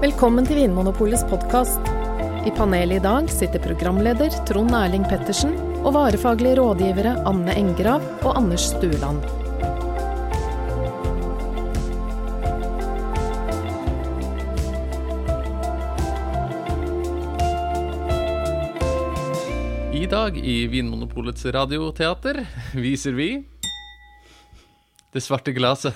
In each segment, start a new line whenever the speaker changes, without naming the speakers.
Velkommen til Vinmonopolets podkast. I panelet i dag sitter programleder Trond Erling Pettersen og varefaglige rådgivere Anne Engrav og Anders Stueland.
I dag i Vinmonopolets radioteater viser vi Det svarte glaset.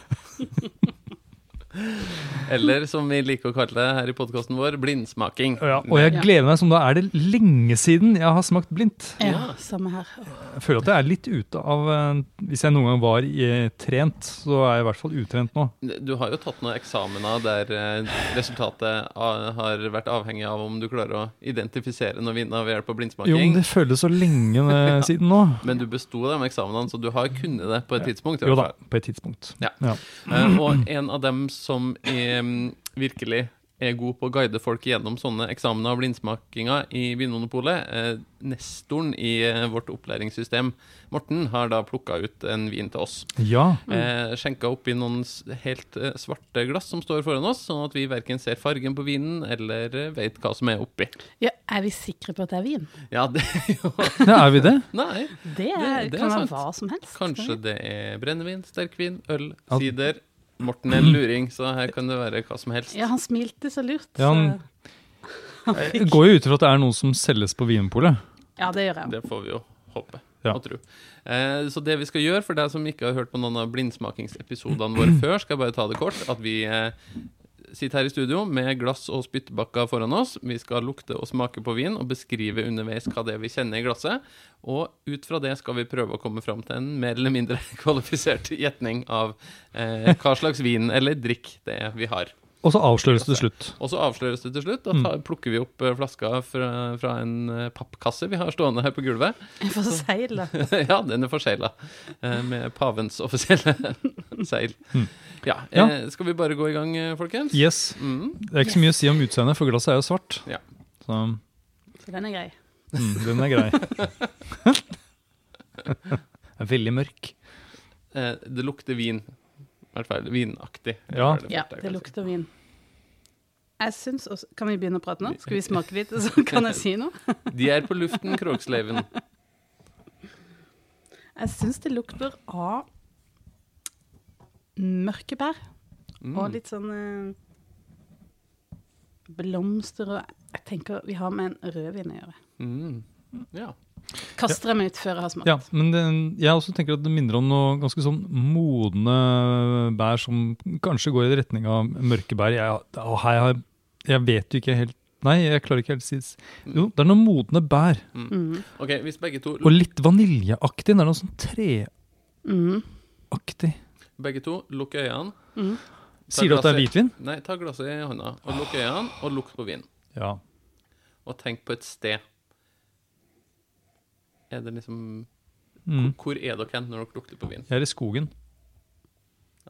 Eller som vi liker å kalle det her i podkasten vår, blindsmaking.
Ja, og jeg gleder meg som da er det lenge siden jeg har smakt blindt.
Ja, samme her.
Jeg føler at jeg er litt ute av eh, Hvis jeg noen gang var i, eh, trent, så er jeg i hvert fall utrent nå.
Du har jo tatt noen eksamener der eh, resultatet a- har vært avhengig av om du klarer å identifisere noen vinner ved hjelp av
Jo, men
blindsmaking.
det føles så lenge eh, siden nå.
Men du besto de eksamenene, så du har kunnet det på et tidspunkt. i
Jo
hvert
da,
fall.
på et tidspunkt.
Ja.
Ja.
Eh, Og en av dem som er, mm, virkelig er god på å guide folk gjennom sånne eksamener og blindsmakinger i Vinmonopolet, eh, nestoren i eh, vårt opplæringssystem, Morten, har da plukka ut en vin til oss.
ja.
Eh, skjenka oppi noen s- helt eh, svarte glass som står foran oss, sånn at vi verken ser fargen på vinen eller eh, vet hva som er oppi.
Ja, er vi sikre på at det er vin?
Ja, det er jo
ja, er vi det?
Nei.
Det, er,
Det- det er
kan være
sant.
hva som helst.
Kanskje det er brennevin, sterkvin, øl,
Ja.
sider. Morten er en luring, så her kan det være hva som helst.
Ja, han smilte så lurt.
Ja, han-
så-
Jeg går jo ut ifra at det er noe som selges på Vinpolet.
ja det gjør jeg.
Det får vi jo håpe
Ja.
og tro. Eh, så det vi skal gjøre, for deg som ikke har hørt på noen av blindsmakingsepisodene våre før, skal jeg bare ta det kort, at vi eh, sitter her i studio med glass og spyttbakker foran oss. Vi skal lukte og smake på vin og beskrive underveis hva det er vi kjenner i glasset. Og ut fra det skal vi prøve å komme fram til en mer eller mindre kvalifisert gjetning av eh, hva slags vin eller drikk det er vi har.
Og så avsløres det til slutt.
Og så avsløres det til slutt. Da tar, plukker vi opp eh, flaska fra, fra en eh, pappkasse vi har stående her på gulvet.
Jeg får seile.
ja, den er forsegla eh, med pavens offisielle seil. Ja,
Mm. Ja.
eh, Skal vi bare gå i gang, eh, folkens?
Yes.
Mm.
Det er ikke så mye å si om utseendet, for glasset er jo svart.
Ja.
Så mm,
Så den er grei.
den er grei. Det er veldig mørk.
Eh, det lukter vin. I hvert fall vinaktig.
Ja.
er det
Ja,
første jeg
det
kan si.
lukter vin. Jeg syns også Kan vi begynne å prate nå? Skal vi smake litt, og så kan jeg si noe?
De er på luften, Kroksleiven.
Jeg syns det lukter av mørke bær. Og litt sånn eh, blomster og Jeg tenker vi har med en rødvin å gjøre.
Mm. Ja.
Kaster jeg meg ut før jeg har smakt?
Ja, men det, jeg også tenker at det minner om noe ganske sånn modne bær som kanskje går i retning av mørke bær. Jeg, å, her har- jeg vet jo ikke helt Nei, jeg klarer ikke helt å si s- Jo, det er noen modne bær.
Mm.
Mm.
OK, hvis begge to,
Og litt vaniljeaktig. Det er noe sånn treaktig.
begge to lukk øynene Ta
Sier du at det er
glasset-
hvitvin?
Nei, ta glasset i hånda og lukk øynene og lukt på vin.
Ja.
Og tenk på et sted. Er det liksom
Mm.
Hvor er dere hen når dere lukter på vin?
Jeg er i skogen.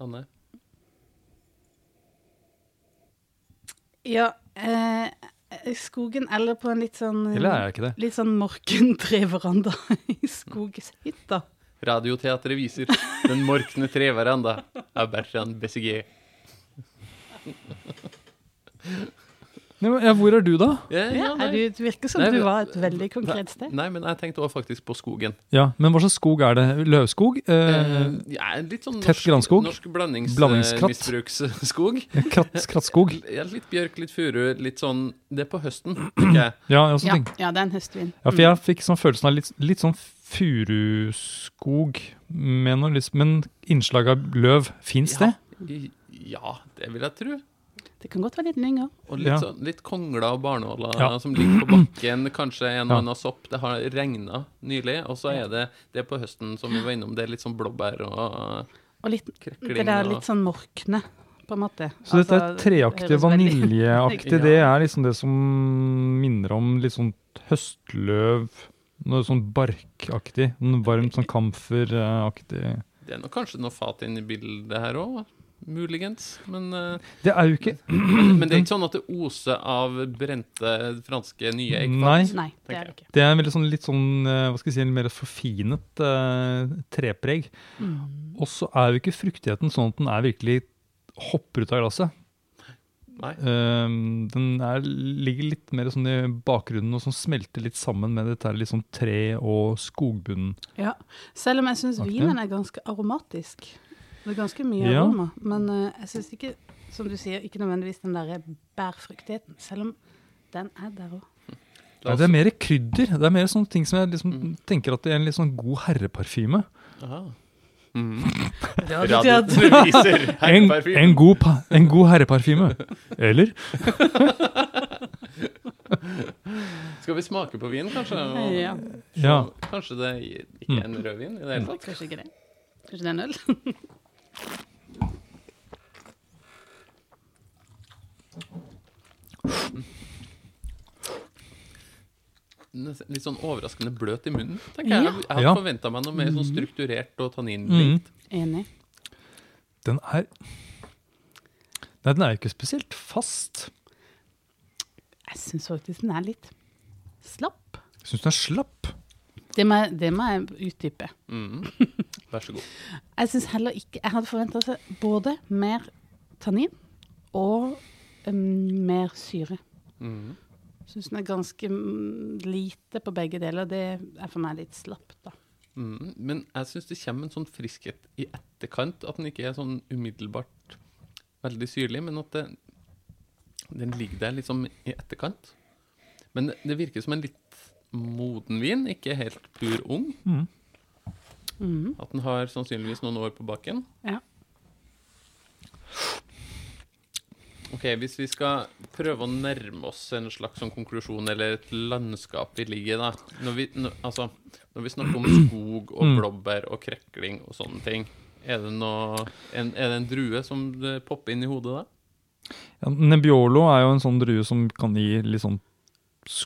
Anne?
Ja, eh, skogen eller på en litt sånn
Eller er jeg ikke det?
Litt sånn morkentreveranda i skoghytta.
Radioteatret viser Den morkne treveranda av Bertrand Bessigier.
Nei, men, ja, hvor er du, da?
Ja,
Ja,
nei.
du, det virker som
Nei,
du
men-
var et veldig konkret sted.
Nei, men jeg tenkte også faktisk på skogen.
Ja, Men hva slags skog er det? Løvskog?
Eh,
Eh,
ja, litt sånn
tett
norsk,
granskog?
norsk blandings,
Blandingskratt?
eh, misbruksskog.
kratt, krattskog?
Ja, Litt bjørk, litt furu, litt sånn Det er på høsten, tenker jeg.
Ja, jeg også
Ja,
tenker
ja, det er en høstvin.
Ja, for jeg fikk sånn følelsen av litt, litt sånn furuskog, med noe, lyst- men innslag av løv. Fins det?
I- Ja, det vil jeg tro.
Det kan godt være litt lynger.
Og litt,
Ja.
sånn, litt kongler og barnåler
Ja.
som ligger på bakken. Kanskje en og
Ja.
annen sopp. Det har regna nylig, og så er det det er på høsten, som vi var innom. Det er litt sånn blåbær og
Og litt,
Krekling
det der
og-
litt sånn morkne, på en måte.
Så dette er
Altså,
treaktig,
det høres veldig-
vaniljeaktig. Det er liksom det som minner om litt sånn høstløv. Noe sånn barkaktig. Noe varmt sånn kamferaktig.
Det er nok kanskje noe fat inn i bildet her òg, muligens. Men, eh,
Det er jo ikke
men det er ikke sånn at det oser av brente franske nye
Nei.
eggfat.
Nei, det er det ikke.
Det er en veldig sånn, litt sånn eh, hva skal jeg si, en mer forfinet eh, trepreg. Og så er jo ikke fruktigheten sånn at den er virkelig hopper ut av glasset.
Nei.
Ehm, den er, ligger litt mer sånn i bakgrunnen og sånn smelter litt sammen med dette her litt sånn tre- og skogbunnen.
Ja. Selv om jeg syns
Aktig.
vinen er ganske aromatisk. Det er ganske mye
Ja.
aroma. Men eh, jeg syns ikke, som du sier, ikke nødvendigvis den derre bærfruktigheten. Selv om den er der òg.
La
Nei,
oss- Mm.
det er mer krydder. Det er mer sånne ting som jeg liksom tenker at det er en litt sånn god herreparfyme.
Aha.
betyr
Radioen viser
En,
herreparfyme.
en, god, pa- en god herreparfyme. Eller?
Skal vi smake på vin, kanskje? Og,
Ja.
Ja. Mm.
Kanskje det ikke er en rødvin i det hele tatt?
Kanskje ikke det. Kanskje det er en øl?
Nesten Litt sånn overraskende bløt i munnen, tenker jeg. Jeg hadde
Ja. Mm.
forventa meg noe mer sånn strukturert og tanninrikt.
Enig.
Den er Nei, den er jo ikke spesielt fast.
Jeg syns faktisk den er litt slapp.
Jeg syns den er slapp.
Det må, jeg- det må jeg utdype.
Vær så god.
Jeg syns heller ikke Jeg hadde forventa både mer tannin og eh, mer syre.
Mm.
Mhm.
Syns den er ganske mm, lite på begge deler. Det er for meg litt slapt, da.
Mhm. Men jeg syns det kommer en sånn friskhet i etterkant. At den ikke er sånn umiddelbart veldig syrlig, men at det, den ligger der liksom i etterkant. Men det, det virker som en litt moden vin, ikke helt pur ung.
Mhm.
Mhm.
At den har sannsynligvis noen år på baken.
Ja.
Ok, Hvis vi skal prøve å nærme oss en slags sånn konklusjon eller et landskap vi ligger i da. Når vi, nå- altså, når vi snakker om skog
Mm.
og blåbær og krekling og sånne ting, er det, noe, en, er det en drue som eh, popper inn i hodet da?
Ja, Nebbiolo er jo en sånn drue som kan gi litt sånn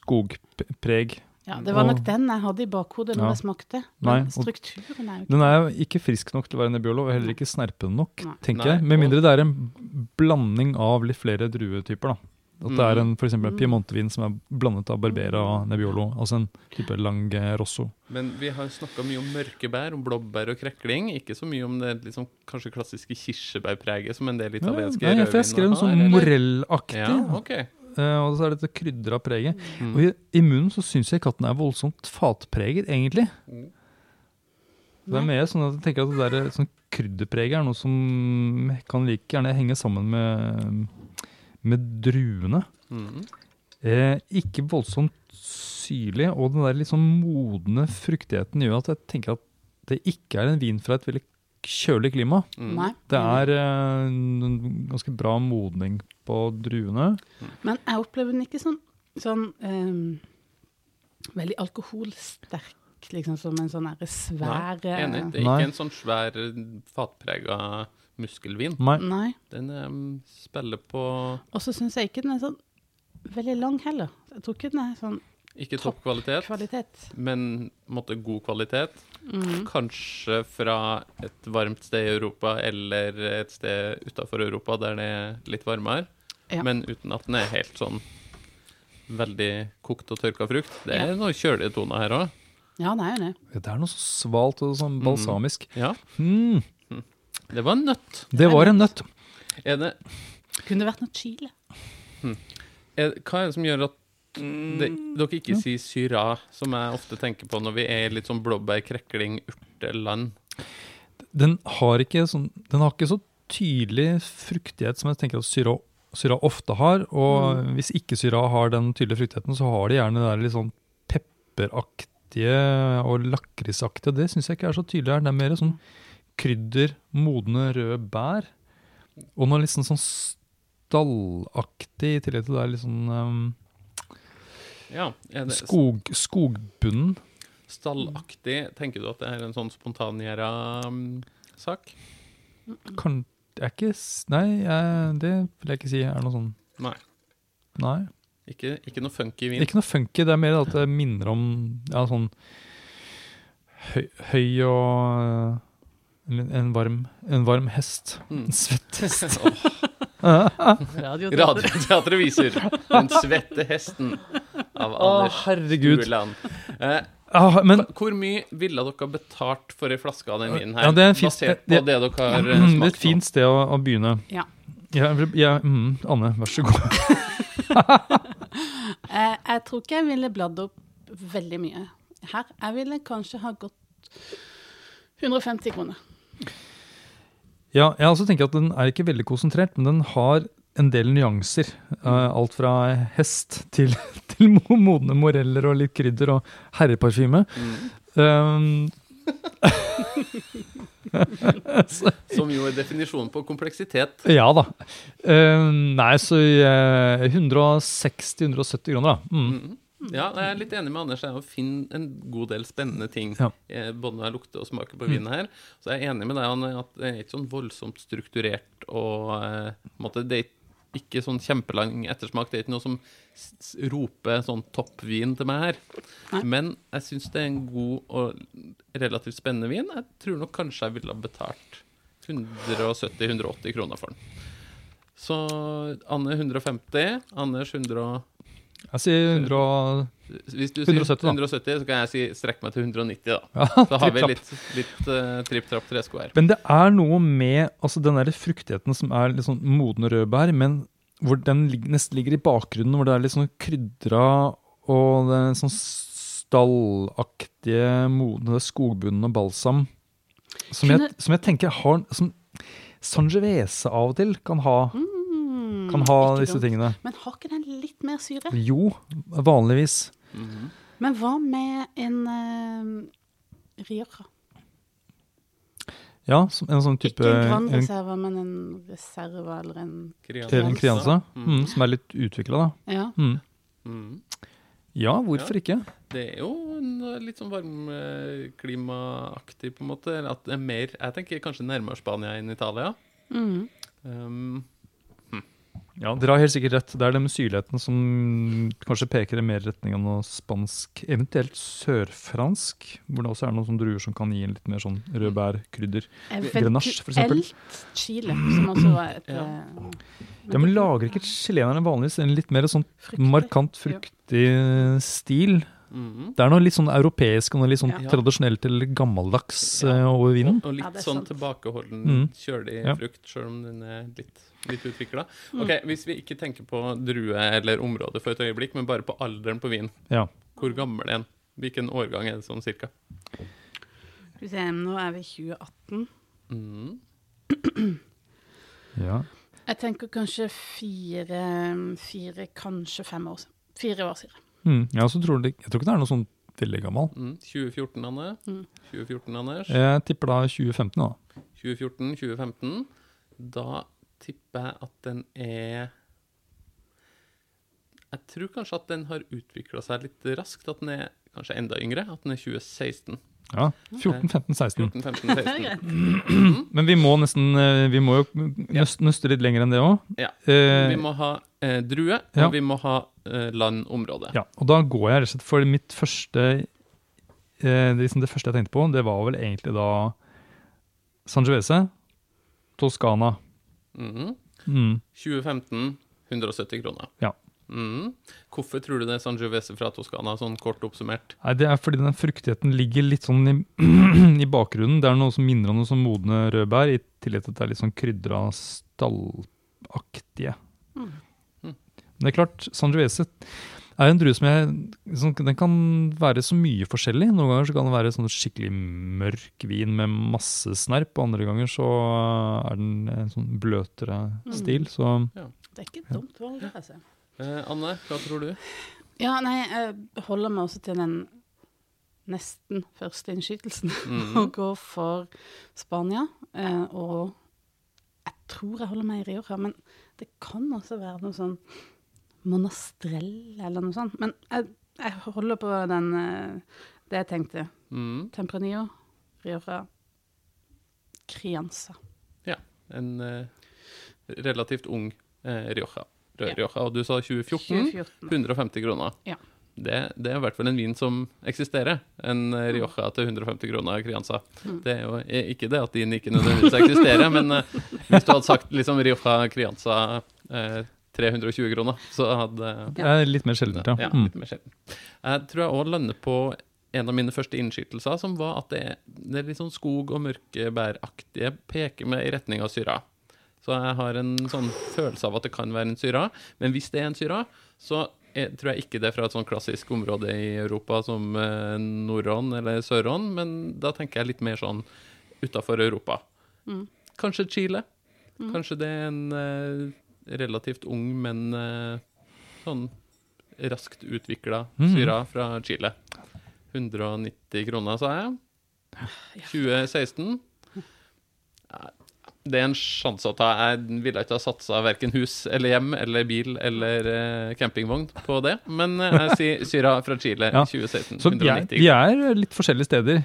skogpreg.
ja, det var nok
Og-
den jeg hadde i bakhodet når
Ja.
jeg smakte.
Nei,
Men
og-
strukturen er jo
Den er jo ikke frisk nok til å være nebbiolo, og heller ikke snerpende nok,
Nei.
tenker
Nei,
jeg. Med
og-
mindre det er en blanding av litt flere druetyper, da. At det er en, for eksempel en piemontevin som er blandet av barbera og nebbiolo, altså en type lang eh, rosso.
Men vi har snakka mye om mørke bær, om blåbær og krekling. Ikke så mye om det liksom, kanskje klassiske kirsebærpreget som en del
Ja,
italienske
Nei, for jeg
rødviner
skrev en sånn
har, eller?
morellaktig,
Ja, ok.
eh, og så er det dette krydra preget.
Mm.
Og i, i munnen så syns jeg ikke at den er voldsomt fatpreget, egentlig.
Mm.
Det er mer sånn at jeg tenker at det der sånn krydderpreget er noe som kan like gjerne henge sammen med, med druene.
Mm.
Eh, ikke voldsomt syrlig, og den der litt sånn modne fruktigheten gjør at jeg tenker at det ikke er en vin fra et veldig kjølig klima.
Mm.
Nei.
Det er eh, en ganske bra modning på druene.
Men jeg opplever den ikke sånn, sånn ehm, veldig alkoholsterk, liksom som en sånn her svær
Nei, enig. Det er
Nei.
ikke en sånn svær, fatprega muskelvin.
Nei,
eh, Nei.
Den em, spiller på
Og så syns jeg ikke den er sånn veldig lang heller. Jeg tror ikke den er sånn
ikke
Topp
toppkvalitet,
kvalitet.
men på en måte god kvalitet.
Mhm.
Kanskje fra et varmt sted i Europa eller et sted utafor Europa der det er litt varmere,
Ja.
men uten at den er helt sånn veldig kokt og tørka frukt. Det er
Ja.
noen kjølige toner her òg.
Ja, den er jo det.
det er noe så svalt og sånn balsamisk.
Ja,
Mm,
det var en nøtt.
det var en nøtt.
Er det,
Kunne det vært noe chile?
er, hva er det som gjør at det,
Mm.
dere ikke sier syra, som jeg ofte tenker på når vi er i litt sånn blåbær, krekling, urteland?
Den har ikke, sånn, den har ikke så tydelig fruktighet som jeg tenker at syra, syra ofte har. Og
Mm.
hvis ikke syra har den tydelige fruktigheten, så har de gjerne det der litt sånn pepperaktige og lakrisaktige. Det syns jeg ikke er så tydelig her. Det er mer sånn krydder, modne, røde bær. Og noe litt sånn, sånn stallaktig, i tillegg til det er litt sånn ehm,
Ja, er det,
skog, skogbunnen.
Stallaktig, tenker du at det er en sånn um, spontangjæra-sak?
Kan, det er ikke s- Nei, jeg, det vil jeg ikke si er noe sånn
Nei.
Nei.
Ikke, ikke noe funky vin?
Ikke noe funky, det er mer at det minner om ja, sånn høy, høy og øh, en, en, varm, en varm hest.
Mm.
En svett hest.
Åh,
Radioteater.
Radioteatret viser Den svette hesten av Anders
herregud.
Stuland. Eh,
Ah, men
hvor mye ville dere betalt for ei flaske av den vinen her?
Ja, det er en fin-
basert på det
det-
dere har eh,
mm, det er
smakt
et fint sted å, å begynne.
Ja.
Jeg, jeg, mm, Anne, vær så god.
Eh, jeg tror ikke jeg ville bladd opp veldig mye her. Jeg ville kanskje ha gått 150 kroner.
Ja, jeg også tenker at den er ikke veldig konsentrert, men den har en del nyanser. Eh, alt fra hest til, til mo- modne moreller og litt krydder og herreparfyme. Um,
Som jo er definisjonen på kompleksitet.
ja da. Um, nei, så eh, 160-170 kroner, da. Mm.
Mhm. Ja, jeg er litt enig med Anders. Jeg å finne en god del spennende ting.
Ja. Mm.
eh, Både når jeg lukter og smaker på vinen her. Så jeg er enig med deg Anne, at det er ikke sånn voldsomt strukturert og eh, på en måte, Det er ikke- ikke sånn kjempelang ettersmak. Det er ikke noe som s- s- roper sånn toppvin til meg her.
Nei.
Men jeg syns det er en god og relativt spennende vin. Jeg tror nok kanskje jeg ville ha betalt 170-180 kroner for den. Så Anne 150, Anders 100
Jeg sier 100
hvis du sier
170,
170,
da.
så kan jeg si strekk meg til 190, da.
ja,
Da har vi
tripp-trapp.
litt, litt eh, tripp-trapp-tresko her.
Men det er noe med altså den der fruktigheten som er litt sånn modne rødbær, men hvor den lig- nesten ligger i bakgrunnen, hvor det er litt sånn krydra og det er sånn stallaktige, modne skogbunnen og balsam. Som jeg, som jeg tenker har som Sangiovese av og til kan ha, kan ha
Mm, ikke
disse
dumt.
tingene.
Men har ikke den litt mer syre?
Jo, vanligvis.
Men hva med en uh, Rioja?
Ja, som en sånn type
Ikke en Grand
en-
Reserva, men en Reserva eller en
en Crianza, mm, som er litt utvikla, da.
Ja.
Mm.
Mm.
Ja, hvorfor ikke?
Det er jo en eh, litt sånn varmklimaaktig, på en måte. eller At det er mer Jeg tenker kanskje nærmere Spania enn Italia.
Mm.
Um,
Ja, Dere har helt sikkert rett. Det er den syrligheten som kanskje peker i mer retning av noe spansk, eventuelt sørfransk, hvor det også er noen sånne druer som kan gi en litt mer sånn
Mm.
rødbærkrydder. Grenache, for eksempel.
Eventuelt Eh, Chile, som også var et
Ja.
eh,
Ja, men Lager ikke chilenerne vanligvis en litt mer sånn
fruktig.
markant fruktig stil?
mhm.
Det er noe litt sånn europeisk og noe litt sånn
Ja.
tradisjonelt eller gammeldags
Ja.
eh, over vinen.
Og litt
Ja, det er
sånn
sant.
tilbakeholden,
Mm.
kjølig
Ja.
frukt, sjøl om den er litt, litt utvikla.
Mm.
Ok, hvis vi ikke tenker på drue eller område for et øyeblikk, men bare på alderen på vinen.
Ja.
Hvor gammel er den? Hvilken årgang er det sånn cirka?
Skal vi se, nå er vi i 2018.
Mhm.
ja.
Jeg tenker kanskje fire, fire kanskje fem år. Fire år siden.
Mm. Jeg, også tror det, jeg tror ikke det er noe sånn veldig gammel.
Mm. 2014, Anne.
Mm.
2014, Anders.
Jeg tipper da 2015, da.
2014-2015. Da tipper jeg at den er Jeg tror kanskje at den har utvikla seg litt raskt. At den er kanskje enda yngre. At den er 2016.
Ja, 14, 15, 16.
14, 15, 16.
Men vi må nesten eh, Vi må jo nøst- nøste litt lenger enn det òg.
Ja. Vi må ha eh, drue, og
Ja.
vi må ha eh, landområde.
ja, og da går jeg rett og slett for mitt første eh, det, liksom det første jeg tenkte på, det var vel egentlig da Sangiovese, Toscana.
Mhm.
Mm.
2015 170 kroner.
Ja.
Mhm. Hvorfor tror du det er Sangiovese fra Toskana, sånn kort oppsummert?
Nei, Det er fordi den fruktigheten ligger litt sånn i, i bakgrunnen. Det er noe som minner om noe som modne rødbær, i tillegg til at det er litt sånn krydra stallaktige.
Mm.
Mm.
Men det er klart, Sangiovese er en drue som jeg sånn, Den kan være så mye forskjellig. Noen ganger så kan det være sånn skikkelig mørk vin med masse snerp, og andre ganger så er den en sånn bløtere
Mm.
stil. Så
Det er ikke dumt valg, altså.
Eh, Anne, hva tror du?
Ja, nei, jeg holder meg også til den nesten første innskytelsen.
Mhm.
Og går for Spania. eh, Og jeg tror jeg holder meg i Rioja, men det kan også være noe sånn Monastrell eller noe sånt. Men jeg, jeg holder på den eh, Det jeg tenkte.
Mhm.
Tempranillo, Rioja, Crianza.
En eh, relativt ung eh, Rioja. Rød
Ja.
Rioja. Og du sa 2014.
2014.
150 kroner.
Ja.
Det, det er i hvert fall en vin som eksisterer. En
Mm.
eh, Rioja til 150 kroner Crianza. Det er jo eh, ikke det at din ikke nødvendigvis eksisterer, men eh, hvis du hadde sagt liksom Rioja Crianza eh, 320 kroner, så hadde
det er litt mer sjeldent, ja.
ja,
Mm.
litt mer sjelden. Jeg tror jeg òg lander på en av mine første innskytelser, som var at det er, det er litt sånn skog- og mørkebæraktige peker meg i retning av syra. Så jeg har en sånn følelse av at det kan være en syra. Men hvis det er en syra, så er, tror jeg ikke det er fra et sånn klassisk område i Europa som eh, Nordån eller Sørån, men da tenker jeg litt mer sånn utafor Europa. Kanskje Chile.
Mm.
Kanskje det er en eh, relativt ung, men eh, sånn raskt utvikla
Mm.
syra fra Chile. 190 kroner, sa jeg. 2016. Nei, Det er en sjanse å ta. Jeg ville ikke ha satsa verken hus eller hjem eller bil eller eh, campingvogn på det, men eh, jeg sier Syra fra Chile
Ja.
2016.
Så vi er,
190.
vi er litt forskjellige steder.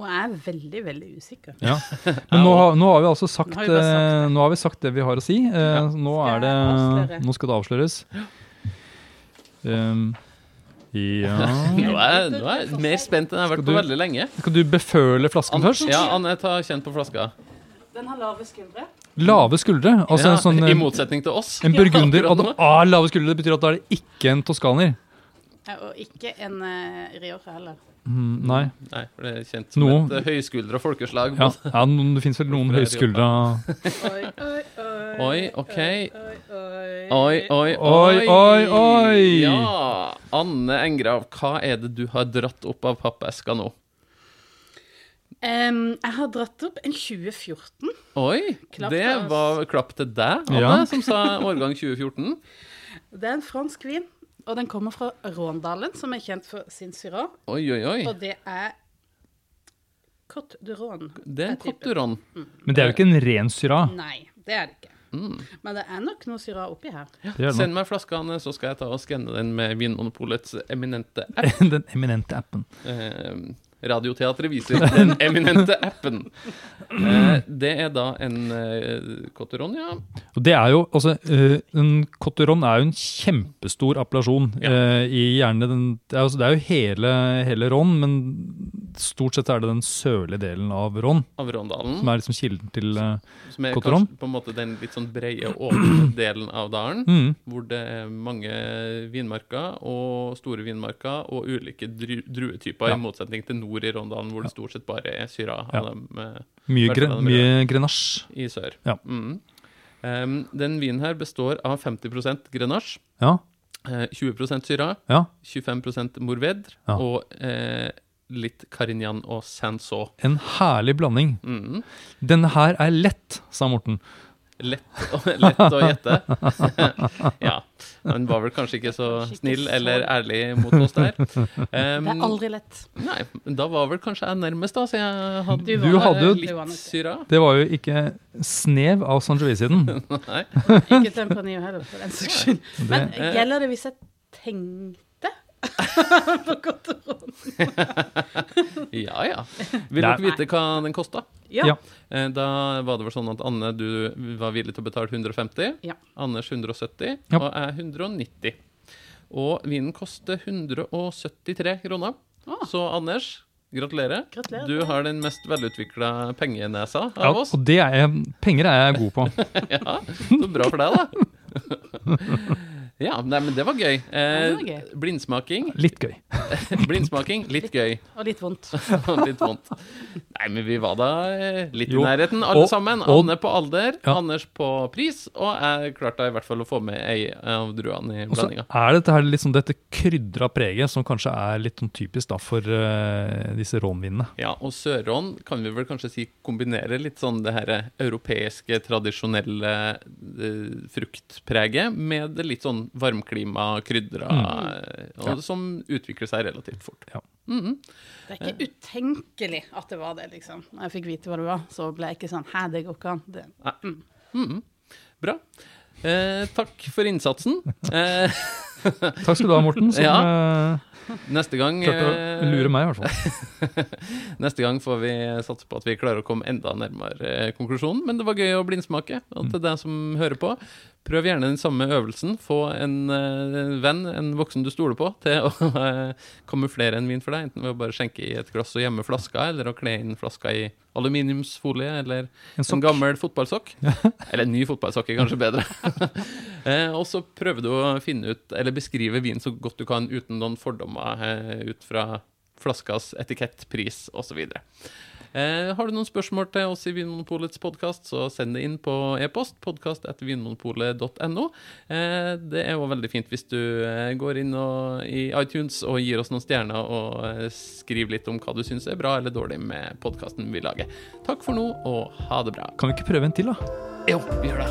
Og jeg er veldig, veldig usikker.
Ja. Men nå har, nå har vi altså sagt,
Nå har vi bare sagt
eh, nå har vi sagt det vi har å si. Eh, Nå,
Skal
er det,
jeg avsløre?
nå skal det avsløres. Um, ja
Nå er, jeg- nå er jeg mer spent enn jeg har vært
Skal
på
du-
veldig lenge.
Skal du beføle flasken
Anne,
først?
ja, Anne, ta kjenn på flaska.
Den har lave skuldre.
Lave skuldre. Altså
Ja,
en sånn
I
eh,
motsetning til oss.
En burgunder
Akkurat
og
nå.
ah, lave skuldre. Det betyr at da er det ikke en toskaner.
Og ikke en eh, Rioja heller.
Mm, nei.
Nei, for det er kjent som
Noe.
et eh, høyskuldra folkeslag.
Ja, ja noen, det fins vel noen høyskuldra
Oi, oi, oi.
Oi, ok.
Oi, oi.
Oi, oi,
Oi,
oi.
oi, oi.
Ja. Anne Engrav, hva er det du har dratt opp av pappeska nå?
Em, jeg har dratt opp en 2014.
Oi,
Klapp
det
til oss.
var klapp til deg, Anne,
Ja.
som sa årgang 2014.
Det er en fransk vin, og den kommer fra Råndalen, som er kjent for sin Syrah.
Oi, oi, oi.
Og det er Côte du Rhône.
Det er en Cotteron.
Men det er jo ikke en ren syra.
Nei, det er det ikke. Men det er nok noe Syrah oppi her.
Det er det
Send meg flaska, Anne, så skal jeg ta og skanne den med Vinmonopolets eminente app.
nok. Den eminente appen.
Eh, Radioteatret viser den eminente appen. Eh, det er da en eh, Cotteron, ja.
Og det er jo, altså, eh, en Cotteron er jo en kjempestor appellasjon
Ja.
eh, i gjerne den, det, er, altså, det er jo hele, hele Ron, men stort sett er det den sørlige delen av Ron
Av Råndalen.
som er liksom kilden til eh,
Som er
Cotteron?
kanskje på en måte den litt sånn brede, åpne delen av dalen.
mm,
Hvor det er mange vinmarker, og store vinmarker, og ulike dru druetyper,
Ja.
i motsetning til nord i Rondalen, hvor det stort sett bare er syra av
Ja.
dem eh,
mye,
Hvertfall
gre
den
mye grenache.
i sør.
Ja.
Mm. Em, den vinen her består av 50 grenache,
Ja,
eh, 20 syra,
ja.
25 mourvedre
Ja.
og eh, litt carignan og sanso.
En herlig blanding.
Mm.
Denne her er lett, sa Morten.
Lett, å- lett å gjette. ja. Han var vel kanskje ikke så
Kanskje ikke
snill
så-
eller ærlig mot oss der. Em,
Det er aldri lett.
Nei, men da var vel kanskje jeg nærmest, da, så jeg hadde
Du
var- Du hadde jo-
litt
du var nok det.
syra.
Det var jo ikke snev av Sangiovese-siden.
Nei.
Ikke Tempranillo heller, for den saks skyld. Men gjelder det hvis jeg tenkte på Côte du Rhône?
Ja, ja. Vil
Nei.
dere vite hva den kosta?
Ja.
Ja.
Eh, Da var det vel sånn at Anne, du var villig til å betale 150.
Ja.
Anders 170,
Ja.
og jeg 190. Og vinen koster 173 kroner.
Å.
Så Anders, gratulerer.
Gratulerer.
Du har den mest velutvikla pengenesa
Ja,
av oss.
og det er jeg, penger er jeg god på.
Ja, så bra for deg, da. Ja, nei, men det var gøy.
Ja, det var
Eh, blindsmaking.
Litt gøy.
Blindsmaking, litt gøy.
Og litt vondt.
Og litt vondt. Nei, men vi var da eh, litt
Jo.
i nærheten, alle
Og-
sammen.
og-
Anne på alder,
Ja.
Anders på pris, og jeg klarte da i hvert fall å få med ei av druene i
Og så
blandinga.
er dette, her litt sånn dette krydra preget som kanskje er litt sånn typisk da for eh, disse rånvinene.
Ja, og Sørån kan vi vel kanskje si kombinerer litt sånn det her europeiske, tradisjonelle eh, fruktpreget med det litt sånn varmklima,
Mm.
krydra, eh, og som utvikler seg relativt fort.
Ja.
Mhm.
Det er ikke utenkelig at det var det, liksom. Når jeg fikk vite hva det var, så ble jeg ikke sånn Hæ, det går ikke an. Det.
Mhm. Bra. Eh, takk for innsatsen. Eh,
Takk skal du ha, Morten, som eh,
neste gang
klarte å lure
eh,
meg, i hvert fall.
Neste gang får vi satse på at vi klarer å komme enda nærmere eh, konklusjonen, men det var gøy å blindsmake. Og til deg som hører på, prøv gjerne den samme øvelsen. Få en eh, venn, en voksen du stoler på, til å eh, kamuflere en vin for deg, enten ved å bare skjenke i et glass og gjemme flaska, eller å kle inn flaska i aluminiumsfolie, eller
En
en
sokk.
gammel fotballsokk. Eller en ny fotballsokk er kanskje bedre. eh, og så prøver du å finne ut, eller beskrive vin så godt du kan uten noen fordommer eh, ut fra flaskas etikett, pris osv. Eh, har du noen spørsmål til oss i Vinmonopolets podkast, så send det inn på e-post. podkast.vinmonopolet.no. Eh, det er jo veldig fint hvis du eh, går inn og, i iTunes og gir oss noen stjerner og eh, skriver litt om hva du syns er bra eller dårlig med podkasten vi lager. Takk for nå, og ha det bra.
Kan vi ikke prøve en til, da?
Jo, vi gjør det.